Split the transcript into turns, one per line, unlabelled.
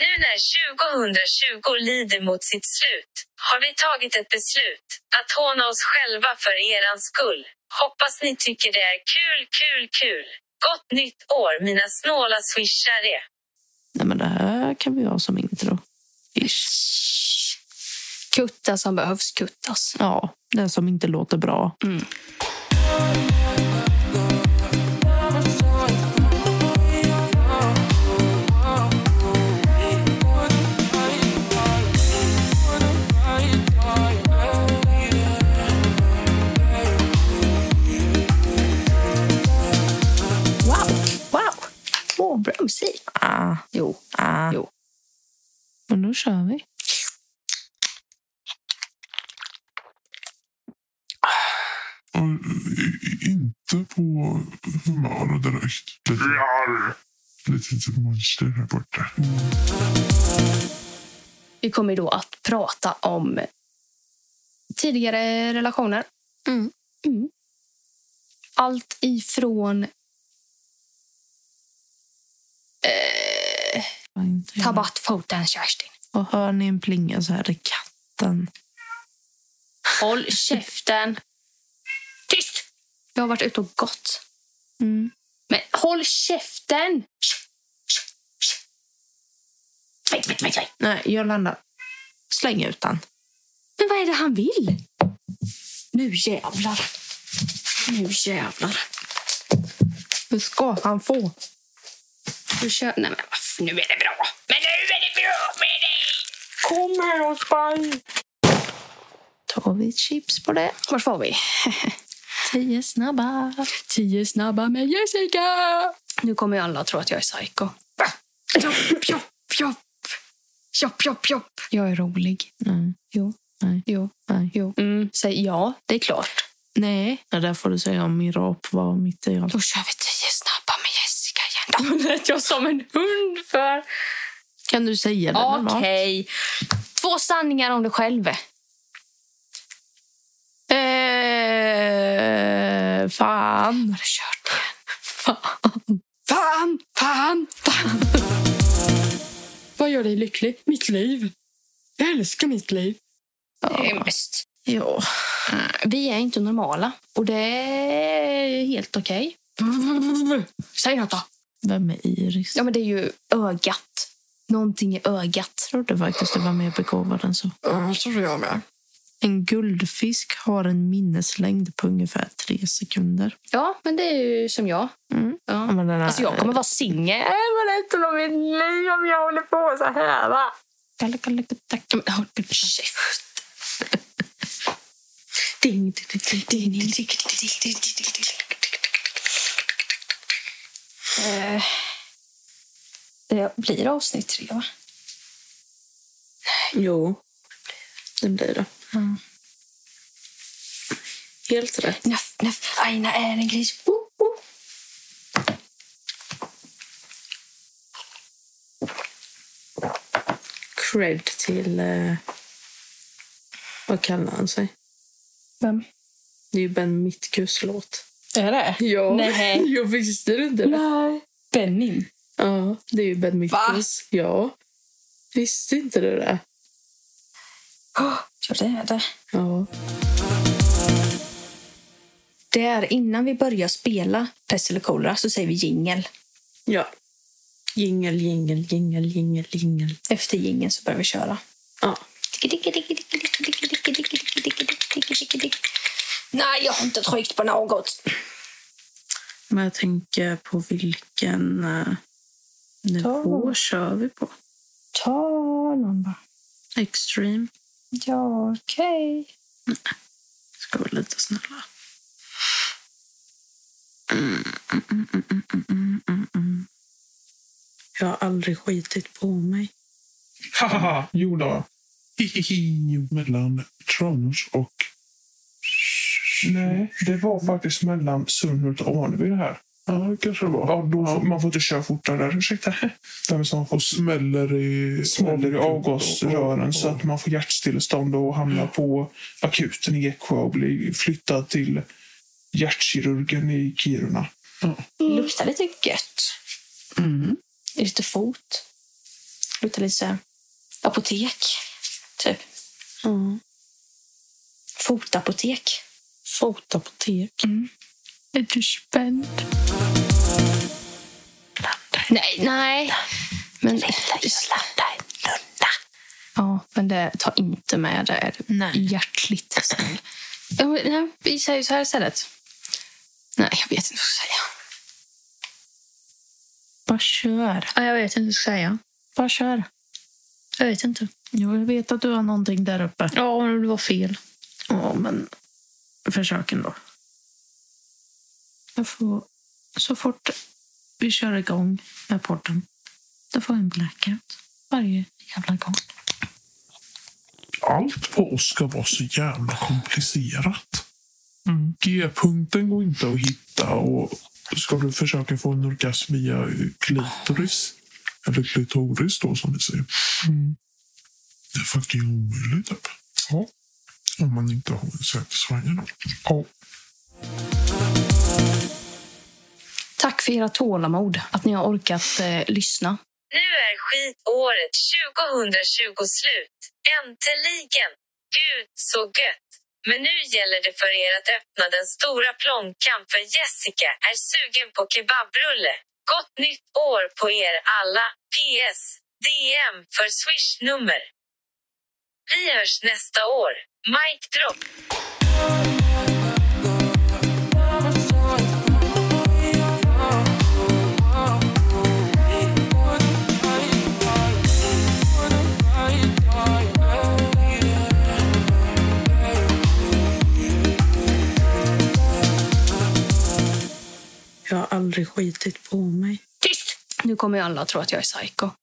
Nu när 2020 lider mot sitt slut, har vi tagit ett beslut. Att håna oss själva för eran skull. Hoppas ni tycker det är kul, kul, kul. Gott nytt år mina snåla swishare.
Nej, men det här kan vi ha som intro. Ish.
Kutta som behövs kuttas.
Ja, den som inte låter bra.
Mm. Wow! Wow! Åh, bra musik.
Ah,
Jo.
ah.
Jo.
Men nu kör vi.
Och i- inte på humöret direkt. Lite, lite, lite monster här borta.
Vi kommer då att prata om tidigare relationer.
Mm.
Mm. Allt ifrån eh, ta bort foten Kerstin.
Och hör ni en plinga så här är katten.
Håll käften. Tyst! Jag har varit ute och gått.
Mm.
Men håll käften! Tvätt, tvätt, tvätt, tvätt.
Nej, Jolanda. Släng ut den.
Men vad är det han vill? Nu jävlar. Nu jävlar.
Det ska han få.
Nu kör... Nej, men aff, nu är det bra. Men nu är det bra med dig!
Tar vi ett chips på det?
Vart var vi?
Tio snabba.
Tio snabba med Jessica! Nu kommer ju alla att tro att jag är psycho. Jopp, jopp, jopp. Jopp, jopp, jopp. Jag är rolig.
Nej,
Jo.
Nej.
Jo.
nej.
Jo. Mm. Säg ja, det är klart.
Nej, det där får du säga om min rap var mitt i allt.
Då kör vi tio snabba med Jessica igen. Då lät jag som en hund för...
Kan du säga det normalt?
Okej. Två sanningar om dig själv.
Eh, fan.
Har du kört igen? Fan! Fan! Fan! Vad gör dig lycklig? Mitt liv. Jag älskar mitt liv.
Ja.
bäst.
ja.
Eh, Vi är inte normala och det är helt okej. Säg något då.
Vem är Iris?
Ja, men det är ju ögat. Någonting i ögat.
Jag trodde faktiskt det var mer begåvad än så.
Ja, tror jag med.
En guldfisk har en minneslängd på ungefär tre sekunder.
Ja, men det är ju som jag.
Mm.
Ja.
Ja, men den här-
Alltså jag kommer vara singel hela resten av mitt liv om jag håller på så här. Va? Men håll käft. Ding, ding, ding, ding, ding, ding, ding, ding, ding, ding, ding, ding. Eh, Det blir avsnitt tre, va?
Jo, det blir det.
Mm.
Helt rätt.
Nuff, nuff, Aina är en gris. Oh, oh.
Cred till... Eh, vad kallar han sig?
Vem?
Det är ju Ben Mitkus låt. Är det? Ja.
Nej.
Jag visste du inte det?
Nej. Bennin.
Ja, det är ju Ben Mitkus. Ja. Visste inte du det?
Oh, ja, det är det.
Ja.
Där innan vi börjar spela Pest eller kolera så säger vi jingel.
Ja. Jingel, jingel, jingel, jingel, jingel.
Efter jingeln så börjar vi köra.
Ja.
Nej, jag har inte tryckt på något.
Men jag tänker på vilken eh, nivå kör vi på?
Ta någon bara.
Extreme.
Ja, okej.
Ska vara lite snälla. Mm, mm, mm, mm, mm, mm, mm, mm. Jag har aldrig skitit på mig.
Haha, jo då. Hihihi. Mellan Tranås och... Nej, det var faktiskt mellan Sundhult och Aneby det här. Ja, det kanske det var. Ja, då, Man får inte köra fortare där. Ursäkta. Vem som får
och smäller i,
smäller i avgasrören så att man får hjärtstillestånd och hamnar på akuten i Eksjö och blir flyttad till hjärtkirurgen i Kiruna.
Luktar lite gött. Lite fot.
Det luktar lite så här apotek, typ.
Mm.
Fotapotek.
Fotapotek.
Är du spänd?
Nej, nej. Men
Ja, men det, ta inte med det. Är
Nej.
hjärtligt snäll. Ja, men, nej, vi säger så här istället. Nej, jag vet inte vad jag ska säga.
Bara kör.
Ja, jag vet inte vad jag ska säga.
Bara kör.
Jag vet inte.
Jo, jag vet att du har någonting där uppe.
Ja, men det var fel.
Ja, men försök ändå. Jag får... Så fort vi kör igång med podden, då får jag en blackout varje jävla gång.
Allt på oss ska vara så jävla komplicerat. G-punkten går inte att hitta och ska du försöka få en orgasm via klitoris, eller klitoris då som vi säger. Det är fucking omöjligt. Typ. Mm. Ja. Om man inte har en säkerhetsvagn. Ja.
Tack för era tålamod, att ni har orkat eh, lyssna.
Nu är skitåret 2020 slut. Äntligen! Gud, så gött! Men nu gäller det för er att öppna den stora plånkan för Jessica är sugen på kebabrulle. Gott nytt år på er alla! PS. DM för Swish-nummer. Vi hörs nästa år. Mike Drop.
Jag har aldrig skitit på mig.
Nu kommer ju alla att tro att jag är psycho.